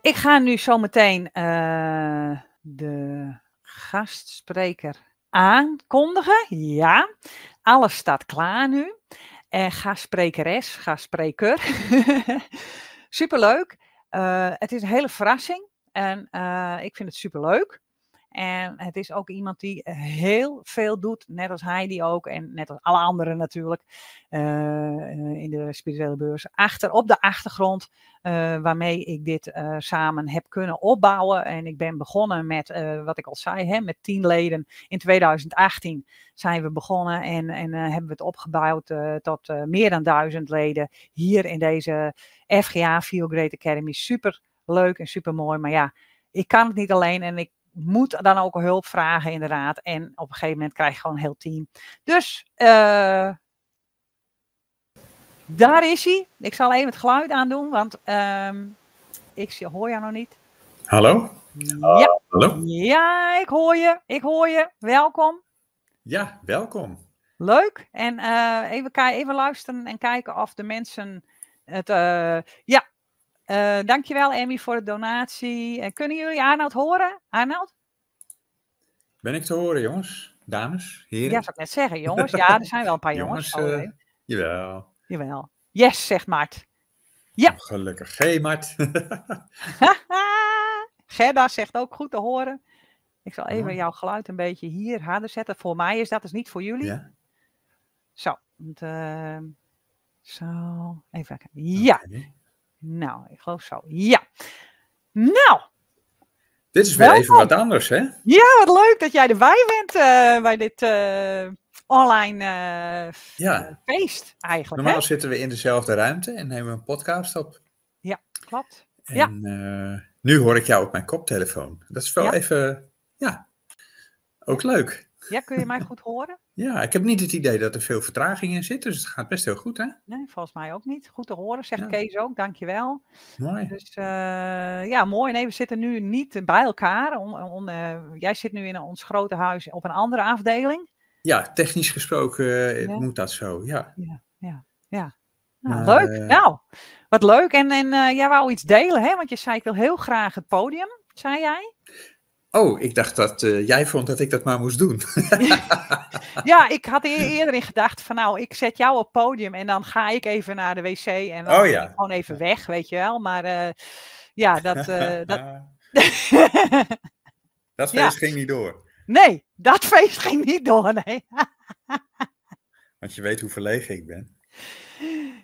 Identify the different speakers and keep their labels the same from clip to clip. Speaker 1: Ik ga nu zometeen eh, de gastspreker aankondigen. Ja, alles staat klaar nu. En gastsprekeres, gastspreker. superleuk. Eh, het is een hele verrassing. En eh, ik vind het superleuk. En het is ook iemand die heel veel doet, net als Heidi ook en net als alle anderen natuurlijk, eh, in de spirituele beurs. Achter, op de achtergrond eh, waarmee ik dit eh, samen heb kunnen opbouwen. En ik ben begonnen met, eh, wat ik al zei, hè, met tien leden. In 2018 zijn we begonnen en, en eh, hebben we het opgebouwd eh, tot eh, meer dan duizend leden hier in deze FGA Feel Great Academy. Super leuk en super mooi, maar ja, ik kan het niet alleen en ik moet dan ook hulp vragen inderdaad. En op een gegeven moment krijg je gewoon een heel team. Dus eh, daar is hij. Ik zal even het geluid aandoen, want ehm, ik zie- hoor jou nog niet.
Speaker 2: Hallo?
Speaker 1: Ja,
Speaker 2: Hallo?
Speaker 1: ja, ik hoor je. Ik hoor je. Welkom.
Speaker 2: Ja, welkom.
Speaker 1: Leuk. En eh, even, ki- even luisteren en kijken of de mensen het. eh, ja. Eh, dankjewel, Emmy, voor de donatie. Eh, kunnen jullie Arnoud horen? Arnoud?
Speaker 2: Ben ik te horen, jongens? Dames? Heren?
Speaker 1: Ja, zou ik net zeggen, jongens. Ja, er zijn wel een paar jongens.
Speaker 2: jongens,
Speaker 1: zo
Speaker 2: eh,
Speaker 1: leuk.
Speaker 2: jawel.
Speaker 1: Jawel. Yes, zegt Mart. Ja.
Speaker 2: Oh, Gelukkig. Hey, Mart.
Speaker 1: Ah, Gerda zegt ook goed te horen. Ik zal even
Speaker 2: Mooi.
Speaker 1: jouw geluid een beetje hier harder zetten. Voor mij is dat dus niet voor jullie.
Speaker 2: ja?
Speaker 1: Zo. want, ehm, zo. Even kijken. Ja.
Speaker 2: Oké.
Speaker 1: Nou, ik geloof zo. Ja. Nou,
Speaker 2: Dit is weer
Speaker 1: Welkom.
Speaker 2: even wat anders, hè?
Speaker 1: ja, wat leuk dat jij erbij bent eh, bij dit eh, online eh, f-
Speaker 2: Ja.
Speaker 1: feest eigenlijk.
Speaker 2: Normaal
Speaker 1: Hè?
Speaker 2: zitten we in dezelfde ruimte en nemen we een podcast op.
Speaker 1: Klopt.
Speaker 2: En
Speaker 1: Ja.
Speaker 2: eh, nu hoor ik jou op mijn koptelefoon. Dat is wel
Speaker 1: Ja.
Speaker 2: even, ja, ook leuk.
Speaker 1: Ja, kun je mij goed horen?
Speaker 2: Ja, ik heb niet het idee dat er veel vertraging in zit, dus het gaat best heel goed, hè?
Speaker 1: Nee, volgens mij ook niet. Goed te horen, zegt
Speaker 2: Ja.
Speaker 1: Kees ook. Dankjewel.
Speaker 2: Mooi.
Speaker 1: Dus eh, ja, mooi. Nee, we zitten nu niet bij elkaar. Om, om, eh, jij zit nu in ons grote huis op een andere afdeling.
Speaker 2: Ja, technisch gesproken eh,
Speaker 1: Ja.
Speaker 2: moet dat zo, ja.
Speaker 1: Nou,
Speaker 2: Maar,
Speaker 1: leuk.
Speaker 2: eh,
Speaker 1: Nou, wat leuk. En, en eh, jij wou iets delen, hè? Want je zei, ik wil heel graag het podium, zei jij.
Speaker 2: Oh, ik dacht dat eh, jij vond dat ik dat maar moest doen.
Speaker 1: Ja, ik had eer- eerder in gedachten van, nou, ik zet jou op het podium en dan ga ik even naar de wc en dan
Speaker 2: Oh
Speaker 1: ben
Speaker 2: ja.
Speaker 1: ik gewoon even weg, weet je wel. Maar eh, ja, dat... eh, dat...
Speaker 2: Dat
Speaker 1: Ja.
Speaker 2: feest ging niet door.
Speaker 1: nee, dat feest ging niet door, nee.
Speaker 2: Want je weet hoe verlegen ik ben.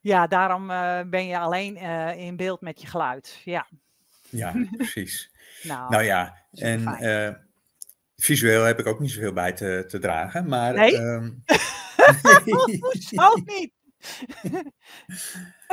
Speaker 1: Ja, daarom eh, ben je alleen eh, in beeld met je geluid. Ja,
Speaker 2: Ja, precies.
Speaker 1: nou.
Speaker 2: Nou ja, en
Speaker 1: superfijn.
Speaker 2: eh, visueel heb ik ook niet zoveel bij te, te dragen. Maar,
Speaker 1: Nee?
Speaker 2: ehm,
Speaker 1: Oh, Hoezo niet?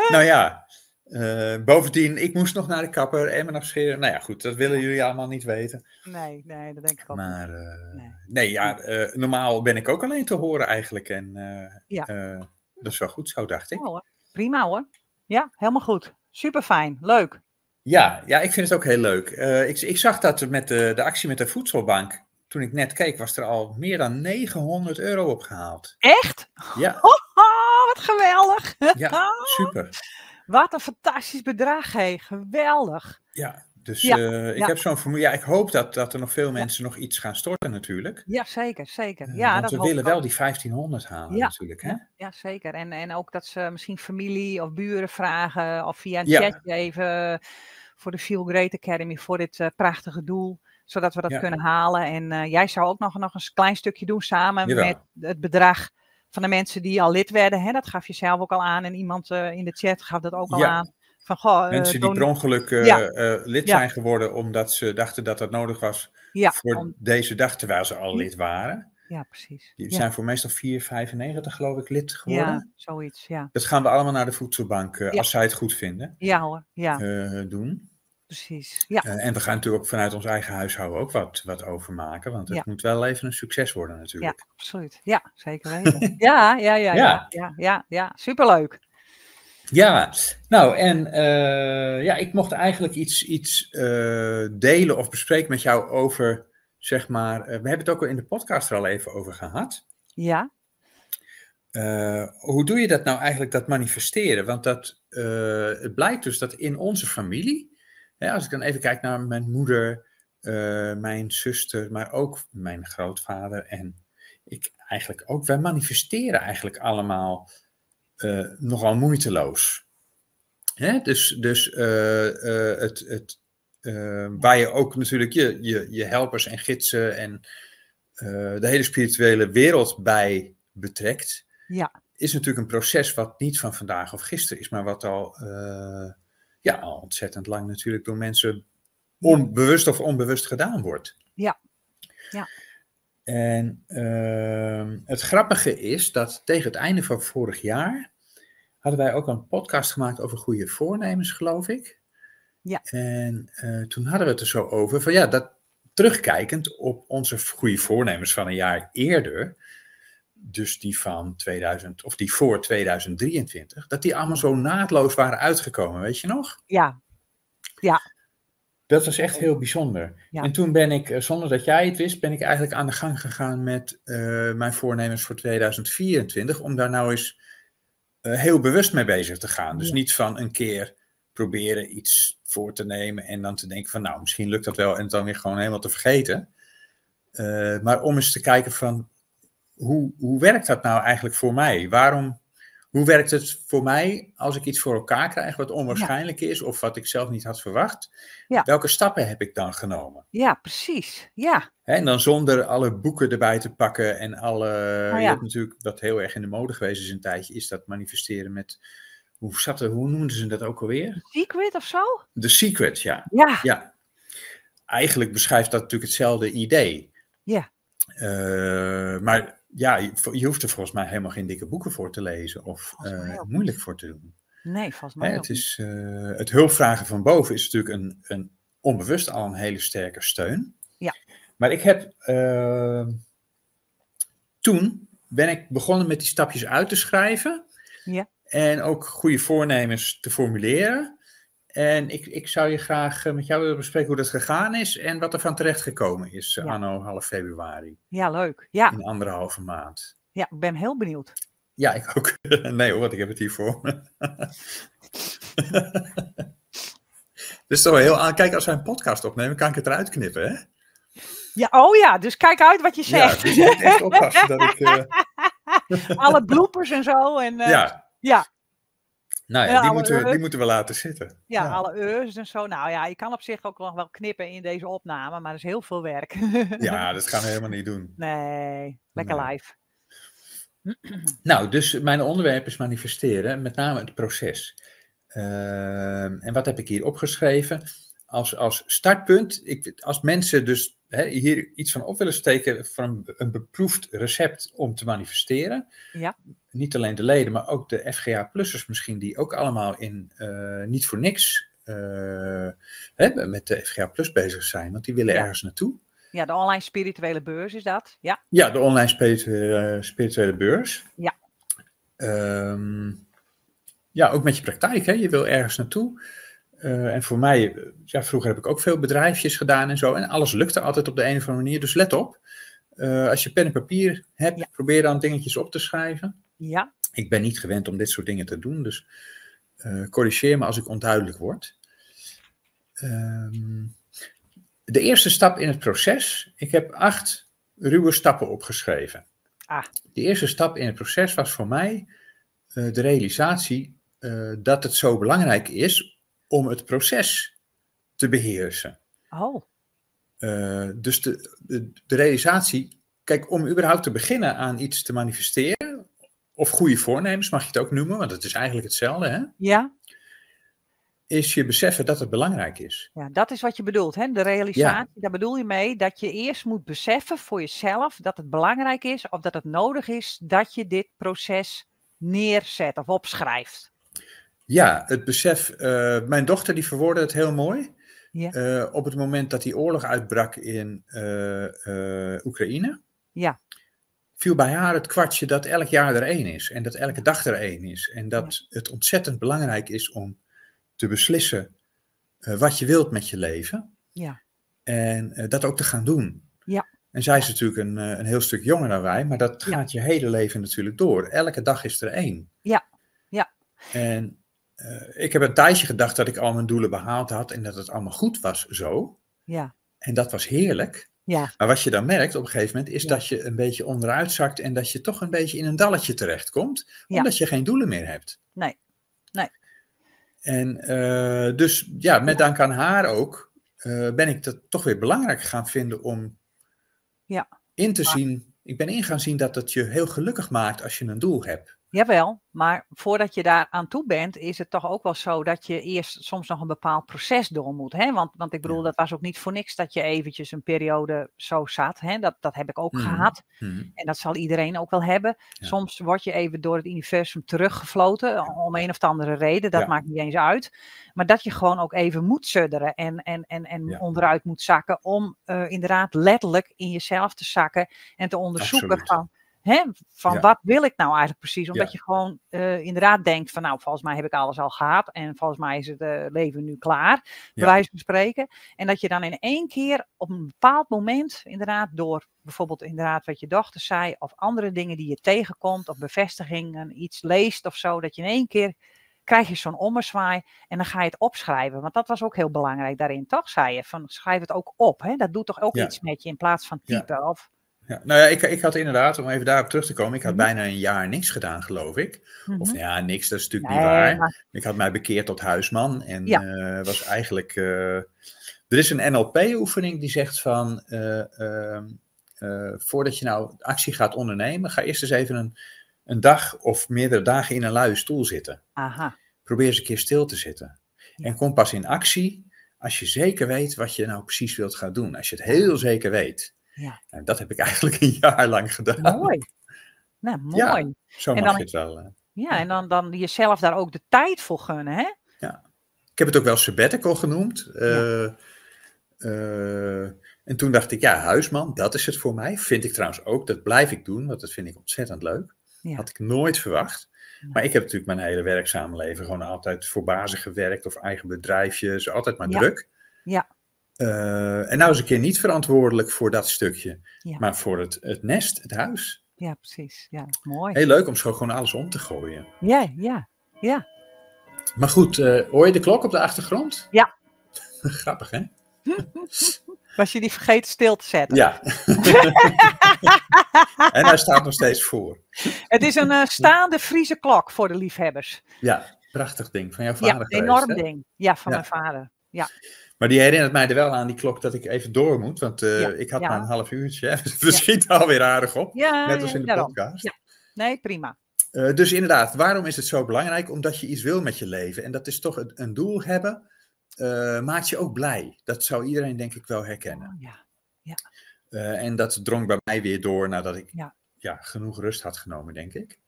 Speaker 2: nou ja, eh, bovendien, ik moest nog naar de kapper en me nog scheren. Nou ja, goed, dat willen jullie allemaal niet weten.
Speaker 1: Nee, nee, dat denk ik ook niet.
Speaker 2: Maar eh,
Speaker 1: Nee.
Speaker 2: nee. ja, eh, normaal ben ik ook alleen te horen eigenlijk. En eh,
Speaker 1: Ja.
Speaker 2: eh, dat is wel goed zo, dacht ik.
Speaker 1: Nou hoor, Prima hoor. Ja, helemaal goed. Super fijn. Leuk.
Speaker 2: Ja, ja, ik vind het ook heel leuk. Eh, ik, ik zag dat met de, de actie met de voedselbank. Toen ik net keek, was er al meer dan 900 euro opgehaald.
Speaker 1: Echt?
Speaker 2: Ja,
Speaker 1: Oh, wat geweldig.
Speaker 2: ja super.
Speaker 1: Wat een fantastisch bedrag, hé. Geweldig.
Speaker 2: Ja, dus
Speaker 1: Ja,
Speaker 2: eh, ik
Speaker 1: ja.
Speaker 2: heb zo'n vermoeden. Ja, ik hoop dat, dat er nog veel mensen nog iets gaan storten natuurlijk.
Speaker 1: Ja, zeker, zeker.
Speaker 2: Eh,
Speaker 1: Ja,
Speaker 2: Want
Speaker 1: dat
Speaker 2: we
Speaker 1: hoop
Speaker 2: willen
Speaker 1: ik ook.
Speaker 2: wel die 1500 halen
Speaker 1: Ja,
Speaker 2: natuurlijk. Hè?
Speaker 1: Ja, ja, zeker. En, en ook dat ze misschien familie of buren vragen of via een
Speaker 2: Ja.
Speaker 1: chat even voor de Feel Great Academy, voor dit eh, prachtige doel, zodat we dat
Speaker 2: Ja.
Speaker 1: kunnen halen. En eh, jij zou ook nog, nog een klein stukje doen samen
Speaker 2: Jawel.
Speaker 1: met het bedrag van de mensen die al lid werden. Hè? Dat gaf je zelf ook al aan en iemand eh, in de chat gaf dat ook al
Speaker 2: Ja.
Speaker 1: aan. Van, goh, eh,
Speaker 2: Mensen die
Speaker 1: don-
Speaker 2: per ongeluk eh,
Speaker 1: Ja.
Speaker 2: eh, lid
Speaker 1: Ja.
Speaker 2: zijn geworden omdat ze dachten dat dat nodig was
Speaker 1: ja,
Speaker 2: voor
Speaker 1: om-
Speaker 2: deze dag, terwijl ze al lid waren.
Speaker 1: ja, precies.
Speaker 2: Die
Speaker 1: Ja,
Speaker 2: zijn voor meestal 4,95 geloof ik lid geworden.
Speaker 1: ja, zoiets. Ja.
Speaker 2: Dat gaan we allemaal naar de voedselbank, eh,
Speaker 1: Ja.
Speaker 2: als zij het goed vinden,
Speaker 1: ja hoor, ja,
Speaker 2: eh, doen.
Speaker 1: precies. Ja,
Speaker 2: Eh, en we gaan natuurlijk ook vanuit ons eigen huishouden ook wat, wat overmaken. Want het
Speaker 1: Ja.
Speaker 2: moet wel even een succes worden natuurlijk.
Speaker 1: Ja, absoluut. Ja, zeker weten. ja, ja, ja, ja,
Speaker 2: Ja.
Speaker 1: ja, ja, ja. Superleuk.
Speaker 2: Ja, nou en eh, ja, ik mocht eigenlijk iets, iets eh, delen of bespreken met jou over, zeg maar, eh, we hebben het ook al in de podcast er al even over gehad.
Speaker 1: Ja,
Speaker 2: Eh, hoe doe je dat nou eigenlijk, dat manifesteren? Want dat, eh, het blijkt dus dat in onze familie Hè, als ik dan even kijk naar mijn moeder, eh, mijn zuster, maar ook mijn grootvader en ik eigenlijk ook. Wij manifesteren eigenlijk allemaal eh, nogal moeiteloos. Hè? Dus, dus eh, eh, het, het, eh, waar je ook natuurlijk je, je, je helpers en gidsen en eh, de hele spirituele wereld bij betrekt,
Speaker 1: Ja.
Speaker 2: is natuurlijk een proces wat niet van vandaag of gisteren is, maar wat al, eh, ja, al ontzettend lang natuurlijk door mensen onbewust of onbewust gedaan wordt.
Speaker 1: Ja. Ja.
Speaker 2: En ehm, het grappige is dat tegen het einde van vorig jaar hadden wij ook een podcast gemaakt over goede voornemens, geloof ik.
Speaker 1: Ja.
Speaker 2: En eh, toen hadden we het er zo over van ja, dat terugkijkend op onze goede voornemens van een jaar eerder, dus die van 2000 of die voor 2023, dat die allemaal zo naadloos waren uitgekomen, weet je nog?
Speaker 1: ja,
Speaker 2: Dat was echt heel bijzonder.
Speaker 1: Ja.
Speaker 2: En toen ben ik, eh, zonder dat jij het wist, ben ik eigenlijk aan de gang gegaan met eh, mijn voornemens voor 2024. Om daar nou eens eh, heel bewust mee bezig te gaan. Dus
Speaker 1: Ja.
Speaker 2: niet van een keer proberen iets voor te nemen en dan te denken van nou, misschien lukt dat wel en het dan weer gewoon helemaal te vergeten. Eh, maar om eens te kijken van hoe, hoe werkt dat nou eigenlijk voor mij? Waarom, hoe werkt het voor mij als ik iets voor elkaar krijg wat onwaarschijnlijk is of wat ik zelf niet had verwacht? welke stappen heb ik dan genomen?
Speaker 1: ja, precies. Ja,
Speaker 2: Hè, En dan zonder alle boeken erbij te pakken en alle. Je
Speaker 1: Oh ja.
Speaker 2: hebt natuurlijk wat heel erg in de mode geweest is een tijdje, is dat manifesteren met. Hoe, zat er, hoe noemden ze dat ook alweer?
Speaker 1: secret of zo?
Speaker 2: The Secret, ja.
Speaker 1: Ja,
Speaker 2: Ja. Eigenlijk beschrijft dat natuurlijk hetzelfde idee.
Speaker 1: Ja.
Speaker 2: Eh, maar ja, je, je hoeft er volgens mij helemaal geen dikke boeken voor te lezen of
Speaker 1: Volgens mij
Speaker 2: eh,
Speaker 1: ook
Speaker 2: moeilijk voor te doen.
Speaker 1: nee, volgens mij
Speaker 2: Hè,
Speaker 1: ook
Speaker 2: het,
Speaker 1: niet.
Speaker 2: is, eh, het hulpvragen van boven is natuurlijk een, een onbewust al een hele sterke steun.
Speaker 1: Ja.
Speaker 2: Maar ik heb eh, toen ben ik begonnen met die stapjes uit te schrijven.
Speaker 1: Ja.
Speaker 2: En ook goede voornemens te formuleren. En ik, ik zou je graag eh, met jou willen bespreken hoe dat gegaan is en wat er van terecht gekomen is eh,
Speaker 1: Ja.
Speaker 2: anno half februari,
Speaker 1: Ja, leuk. Ja,
Speaker 2: in anderhalve maand.
Speaker 1: ja, ik ben heel benieuwd.
Speaker 2: Ja, ik ook. Nee hoor, want ik heb het hier voor me. Dus toch wel heel aan. Kijk, als wij een podcast opnemen, kan ik het eruit knippen, hè?
Speaker 1: Ja, oh ja, dus kijk uit wat je
Speaker 2: Ja,
Speaker 1: zegt.
Speaker 2: dus ik moet echt oppassen dat ik... eh,
Speaker 1: Alle bloepers en zo. En, eh, ja,
Speaker 2: ja. Nou ja,
Speaker 1: Ja,
Speaker 2: die
Speaker 1: alle
Speaker 2: moeten, we- die
Speaker 1: rug.
Speaker 2: moeten we laten zitten.
Speaker 1: alle eus en zo. Nou ja, je kan op zich ook nog wel knippen in deze opname, maar dat is heel veel werk.
Speaker 2: Ja, dat gaan we helemaal niet doen.
Speaker 1: Nee, lekker
Speaker 2: Nee.
Speaker 1: live.
Speaker 2: Nou, dus mijn onderwerp is manifesteren, met name het proces. Ehm, en wat heb ik hier opgeschreven? Als, als startpunt, ik, als mensen dus hè, hier iets van op willen steken van een, een beproefd recept om te manifesteren.
Speaker 1: Ja.
Speaker 2: Niet alleen de leden, maar ook de FGA-plussers misschien, die ook allemaal in eh, niet voor niks eh, hè, met de FGA-plus bezig zijn, want die willen
Speaker 1: Ja.
Speaker 2: ergens naartoe.
Speaker 1: Ja, de online spirituele beurs is dat. Ja,
Speaker 2: Ja, de online spirituele, eh, spirituele beurs.
Speaker 1: Ja.
Speaker 2: Ehm, ja, ook met je praktijk. Hè? Je wil ergens naartoe. Eh, en voor mij, eh, ja, vroeger heb ik ook veel bedrijfjes gedaan en zo. En alles lukte altijd op de een of andere manier. Dus let op. Eh, als je pen en papier hebt,
Speaker 1: Ja.
Speaker 2: probeer dan dingetjes op te schrijven.
Speaker 1: ja,
Speaker 2: Ik ben niet gewend om dit soort dingen te doen. Dus eh, corrigeer me als ik onduidelijk word. Ehm, de eerste stap in het proces. Ik heb acht ruwe stappen opgeschreven.
Speaker 1: Ah.
Speaker 2: De eerste stap in het proces was voor mij eh, de realisatie eh, dat het zo belangrijk is om het proces te beheersen.
Speaker 1: oh,
Speaker 2: Eh, dus de, de, de realisatie, kijk, om überhaupt te beginnen aan iets te manifesteren, of goede voornemens mag je het ook noemen, want het is eigenlijk hetzelfde, hè?
Speaker 1: ja.
Speaker 2: is je beseffen dat het belangrijk is.
Speaker 1: Ja, dat is wat je bedoelt, hè? De realisatie, daar bedoel je mee dat je eerst moet beseffen voor jezelf dat het belangrijk is of dat het nodig is dat je dit proces neerzet of opschrijft.
Speaker 2: Ja, het besef, eh, mijn dochter die verwoordde het heel mooi.
Speaker 1: Ja.
Speaker 2: Eh, op het moment dat die oorlog uitbrak in eh, eh, Oekraïne,
Speaker 1: Ja.
Speaker 2: viel bij haar het kwartje dat elk jaar er één is en dat elke dag er één is. En dat het ontzettend belangrijk is om te beslissen eh, wat je wilt met je leven
Speaker 1: Ja,
Speaker 2: en eh, dat ook te gaan doen.
Speaker 1: Ja.
Speaker 2: En zij is natuurlijk een, eh, een heel stuk jonger dan wij, maar dat
Speaker 1: Ja.
Speaker 2: gaat je hele leven natuurlijk door. Elke dag is er één.
Speaker 1: Ja, ja.
Speaker 2: En eh, ik heb een tijdje gedacht dat ik al mijn doelen behaald had en dat het allemaal goed was zo.
Speaker 1: Ja,
Speaker 2: En dat was heerlijk.
Speaker 1: ja,
Speaker 2: Maar wat je dan merkt op een gegeven moment is
Speaker 1: Ja.
Speaker 2: dat je een beetje onderuit zakt en dat je toch een beetje in een dalletje terechtkomt,
Speaker 1: Ja.
Speaker 2: omdat je geen doelen meer hebt.
Speaker 1: Nee. Nee.
Speaker 2: En eh, dus ja, met dank aan haar ook eh, ben ik dat toch weer belangrijk gaan vinden om
Speaker 1: Ja.
Speaker 2: in te zien. Ik ben in gaan zien dat het je heel gelukkig maakt als je een doel hebt.
Speaker 1: jawel. Maar voordat je daar aan toe bent, is het toch ook wel zo dat je eerst soms nog een bepaald proces door moet. Hè? Want, want ik bedoel,
Speaker 2: Ja.
Speaker 1: dat was ook niet voor niks dat je eventjes een periode zo zat. Hè? Dat, dat heb ik ook
Speaker 2: Mhm.
Speaker 1: gehad.
Speaker 2: Hm.
Speaker 1: En dat zal iedereen ook wel hebben.
Speaker 2: Ja.
Speaker 1: Soms word je even door het universum teruggefloten. Om een of andere reden. Dat
Speaker 2: Ja.
Speaker 1: maakt niet eens uit. Maar dat je gewoon ook even moet sudderen. En, en, en, en
Speaker 2: Ja.
Speaker 1: onderuit moet zakken. Om eh, inderdaad letterlijk in jezelf te zakken. En te onderzoeken
Speaker 2: Absoluut.
Speaker 1: van. Hè, van
Speaker 2: Ja.
Speaker 1: wat wil ik nou eigenlijk precies? Omdat
Speaker 2: Ja.
Speaker 1: je gewoon eh, inderdaad denkt van nou, volgens mij heb ik alles al gehad. En volgens mij is het eh, leven nu klaar.
Speaker 2: Ja.
Speaker 1: Bij wijze van spreken. En dat je dan in één keer op een bepaald moment, inderdaad, door bijvoorbeeld inderdaad wat je dochter zei, of andere dingen die je tegenkomt, of bevestigingen, iets leest of zo, dat je in één keer krijg je zo'n ommezwaai en dan ga je het opschrijven. Want dat was ook heel belangrijk daarin, toch? Zei je, van schrijf het ook op. Hè? Dat doet toch ook
Speaker 2: Ja.
Speaker 1: iets met je in plaats van
Speaker 2: Ja.
Speaker 1: typen. Of,
Speaker 2: Ja, nou ja, ik, ik had inderdaad, om even daarop terug te komen, ik had
Speaker 1: Mhm.
Speaker 2: bijna een jaar niks gedaan, geloof ik.
Speaker 1: Mhm.
Speaker 2: Of nou ja, niks, dat is natuurlijk
Speaker 1: Nee,
Speaker 2: niet waar.
Speaker 1: maar-
Speaker 2: Ik had mij bekeerd tot huisman en
Speaker 1: Ja.
Speaker 2: eh, was eigenlijk. eh, er is een NLP-oefening die zegt van. eh, ehm, eh, voordat je nou actie gaat ondernemen, ga eerst eens even een, een dag of meerdere dagen in een luie stoel zitten.
Speaker 1: aha,
Speaker 2: Probeer eens een keer stil te zitten.
Speaker 1: Ja.
Speaker 2: En kom pas in actie als je zeker weet wat je nou precies wilt gaan doen. Als je het heel zeker weet.
Speaker 1: Ja.
Speaker 2: En dat heb ik eigenlijk een jaar lang gedaan.
Speaker 1: mooi. Nou, mooi.
Speaker 2: Ja. Zo
Speaker 1: En
Speaker 2: mag
Speaker 1: dan-
Speaker 2: je het wel. eh.
Speaker 1: Ja, en dan, dan jezelf daar ook de tijd voor gunnen, hè?
Speaker 2: Ik heb het ook wel sabbatical genoemd. Eh, eh, en toen dacht ik, ja, huisman, dat is het voor mij. Vind ik trouwens ook, dat blijf ik doen, want dat vind ik ontzettend leuk.
Speaker 1: Ja.
Speaker 2: Had ik nooit verwacht.
Speaker 1: Nee.
Speaker 2: Maar ik heb natuurlijk mijn hele werkzame leven gewoon altijd voor bazen gewerkt of eigen bedrijfjes, altijd maar
Speaker 1: Ja.
Speaker 2: druk.
Speaker 1: Ja.
Speaker 2: Eh, en nou is een keer niet verantwoordelijk voor dat stukje,
Speaker 1: Ja.
Speaker 2: maar voor het, het nest, het huis.
Speaker 1: Ja, precies. Ja, mooi.
Speaker 2: Heel leuk om zo gewoon alles om te gooien.
Speaker 1: Ja, ja.
Speaker 2: Maar goed, eh, hoor je de klok op de achtergrond?
Speaker 1: Ja.
Speaker 2: Grappig, hè?
Speaker 1: Was je die vergeten stil te zetten?
Speaker 2: Ja. en hij staat nog steeds voor.
Speaker 1: Het is een eh, staande Friese klok voor de liefhebbers.
Speaker 2: Ja, prachtig ding van jouw vader.
Speaker 1: Ja, een
Speaker 2: geweest,
Speaker 1: enorm
Speaker 2: hè?
Speaker 1: ding. Ja, van
Speaker 2: Ja.
Speaker 1: mijn vader.
Speaker 2: Maar die herinnert mij er wel aan, die klok, dat ik even door moet. Want eh,
Speaker 1: Ja,
Speaker 2: ik had
Speaker 1: ja.
Speaker 2: maar een half uurtje. hè. We schieten alweer aardig op.
Speaker 1: Ja,
Speaker 2: Net als in de
Speaker 1: daarom.
Speaker 2: podcast.
Speaker 1: Ja. Nee, prima.
Speaker 2: Eh, dus inderdaad, waarom is het zo belangrijk? Omdat je iets wil met je leven. En dat is toch het- een doel hebben. eh, maakt je ook blij. Dat zou iedereen denk ik wel herkennen.
Speaker 1: Oh, ja.
Speaker 2: Eh, en dat drong bij mij weer door nadat ik ja.
Speaker 1: Ja.
Speaker 2: genoeg rust had genomen, denk ik.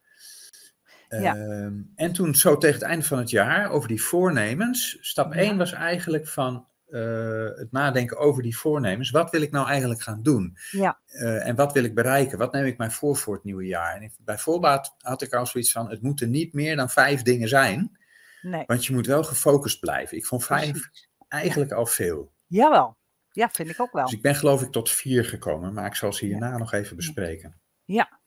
Speaker 1: Ja.
Speaker 2: Ehm, en toen zo tegen het eind van het jaar over die voornemens. Stap
Speaker 1: Ja.
Speaker 2: 1 was eigenlijk van eh, het nadenken over die voornemens. Wat wil ik nou eigenlijk gaan doen?
Speaker 1: Ja.
Speaker 2: Eh, en wat wil ik bereiken? Wat neem ik mij voor voor het nieuwe jaar? En ik- bij voorbaat had ik al zoiets van, het moeten niet meer dan vijf dingen zijn.
Speaker 1: Nee,
Speaker 2: Want je moet wel gefocust blijven. Ik vond vijf
Speaker 1: precies.
Speaker 2: eigenlijk al veel.
Speaker 1: Jawel. Ja, vind ik ook wel.
Speaker 2: Dus ik ben geloof ik tot vier gekomen, maar ik zal ze hierna nog even bespreken.
Speaker 1: Ja.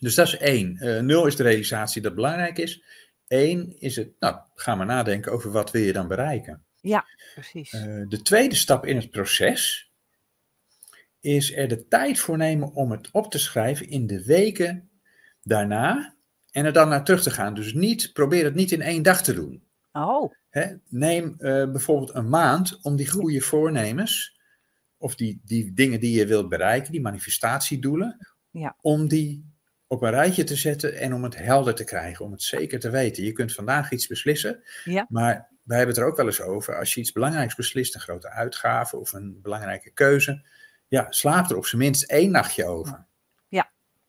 Speaker 2: Dus dat is één. Eh, nul is de realisatie dat belangrijk is. Eén is het, nou, ga maar nadenken over wat wil je dan bereiken.
Speaker 1: Precies.
Speaker 2: Eh, de tweede stap in het proces is er de tijd voor nemen om het op te schrijven in de weken daarna en er dan naar terug te gaan. Dus niet, probeer het niet in één dag te doen.
Speaker 1: oh,
Speaker 2: Hè, neem eh, bijvoorbeeld een maand om die goede voornemens, of die, die dingen die je wilt bereiken, die manifestatiedoelen,
Speaker 1: Ja.
Speaker 2: om die op een rijtje te zetten en om het helder te krijgen, om het zeker te weten. Je kunt vandaag iets beslissen,
Speaker 1: Ja.
Speaker 2: maar wij hebben het er ook wel eens over. Als je iets belangrijks beslist, een grote uitgave of een belangrijke keuze, ja, slaap er op zijn minst één nachtje over.
Speaker 1: Ja.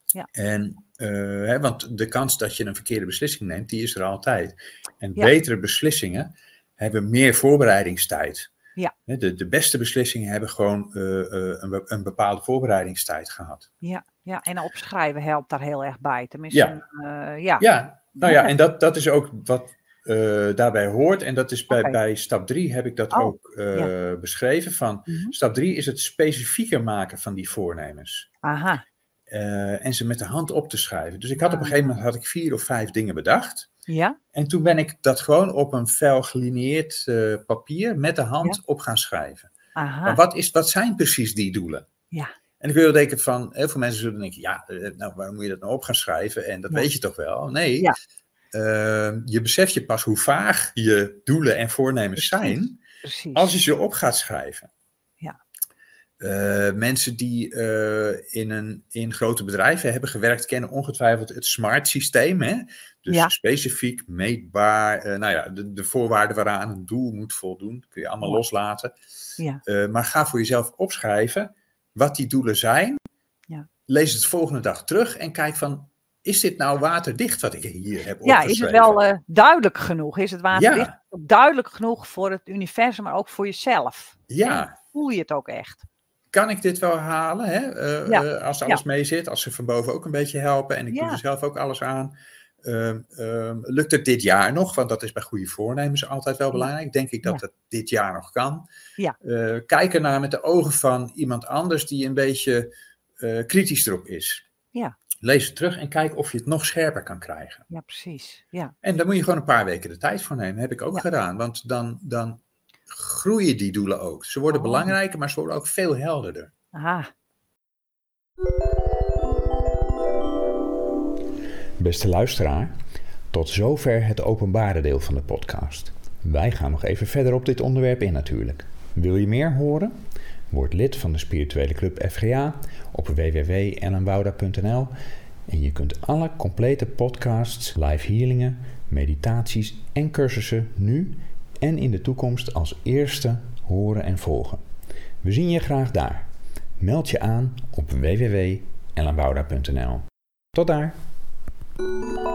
Speaker 1: Ja.
Speaker 2: En, eh, hè, want de kans dat je een verkeerde beslissing neemt, die is er altijd. En
Speaker 1: Ja.
Speaker 2: betere beslissingen hebben meer voorbereidingstijd.
Speaker 1: Ja.
Speaker 2: Hè, De, de beste beslissingen hebben gewoon eh, eh, een, be- een bepaalde voorbereidingstijd gehad.
Speaker 1: ja. Ja, en opschrijven helpt daar heel erg bij. Tenminste,
Speaker 2: Ja.
Speaker 1: eh, ja.
Speaker 2: Ja, nou ja, en dat, dat is ook wat eh, daarbij hoort. En dat is bij,
Speaker 1: Oké.
Speaker 2: bij stap 3 heb ik dat
Speaker 1: Oh,
Speaker 2: ook eh, beschreven. Van,
Speaker 1: Mhm.
Speaker 2: Stap 3 is het specifieker maken van die voornemens.
Speaker 1: Aha. Ah.
Speaker 2: Eh, en ze met de hand op te schrijven. Dus ik had op een gegeven moment had ik vier of vijf dingen bedacht.
Speaker 1: Ja,
Speaker 2: En toen ben ik dat gewoon op een fel gelineerd eh, papier met de hand op gaan schrijven.
Speaker 1: aha.
Speaker 2: Maar wat, is, wat zijn precies die doelen?
Speaker 1: Ja.
Speaker 2: En ik wil denken van, heel veel mensen zullen denken, ja, eh, nou, waarom moet je dat nou op gaan schrijven? En dat
Speaker 1: Ja.
Speaker 2: weet je toch wel? Nee,
Speaker 1: Ja.
Speaker 2: eh, je beseft je pas hoe vaag je doelen en voornemens
Speaker 1: Precies.
Speaker 2: zijn
Speaker 1: Precies.
Speaker 2: als je ze op gaat schrijven.
Speaker 1: Ja.
Speaker 2: Eh, mensen die eh, in, een, in grote bedrijven hebben gewerkt, kennen ongetwijfeld het smart systeem. Hè? Dus
Speaker 1: Ja.
Speaker 2: specifiek, meetbaar, eh, nou ja, de, de voorwaarden waaraan een doel moet voldoen, kun je allemaal
Speaker 1: Ja.
Speaker 2: loslaten.
Speaker 1: Ja.
Speaker 2: Eh, maar ga voor jezelf opschrijven wat die doelen zijn.
Speaker 1: Ja.
Speaker 2: Lees het volgende dag terug en kijk van, is dit nou waterdicht wat ik hier heb
Speaker 1: ja,
Speaker 2: opgeschreven?
Speaker 1: is het wel eh, duidelijk genoeg? Is het waterdicht
Speaker 2: Ja,
Speaker 1: duidelijk genoeg voor het universum, maar ook voor jezelf?
Speaker 2: ja.
Speaker 1: Voel je het ook echt?
Speaker 2: kan ik dit wel halen? Hè? Eh,
Speaker 1: Ja,
Speaker 2: eh, als alles mee zit, als ze van boven ook een beetje helpen en ik
Speaker 1: Ja.
Speaker 2: doe er zelf ook alles aan. Ehm, ehm, lukt het dit jaar nog? Want dat is bij goede voornemens altijd wel belangrijk. Denk ik dat
Speaker 1: Ja.
Speaker 2: het dit jaar nog kan.
Speaker 1: Ja.
Speaker 2: Eh, kijk ernaar met de ogen van iemand anders die een beetje eh, kritisch erop is.
Speaker 1: Ja.
Speaker 2: Lees het terug en kijk of je het nog scherper kan krijgen.
Speaker 1: Ja, precies. Ja,
Speaker 2: En daar moet je gewoon een paar weken de tijd voor nemen. Heb ik ook
Speaker 1: Ja.
Speaker 2: gedaan. Want dan, dan groeien die doelen ook. Ze worden
Speaker 1: Oh.
Speaker 2: belangrijker, maar ze worden ook veel helderder.
Speaker 1: aha.
Speaker 3: Beste luisteraar, tot zover het openbare deel van de podcast. Wij gaan nog even verder op dit onderwerp in natuurlijk. Wil je meer horen? Word lid van de spirituele club FGA op www.ellenwouda.nl en je kunt alle complete podcasts, live healingen, meditaties en cursussen nu en in de toekomst als eerste horen en volgen. We zien je graag daar. Meld je aan op www.ellenwouda.nl. Tot daar!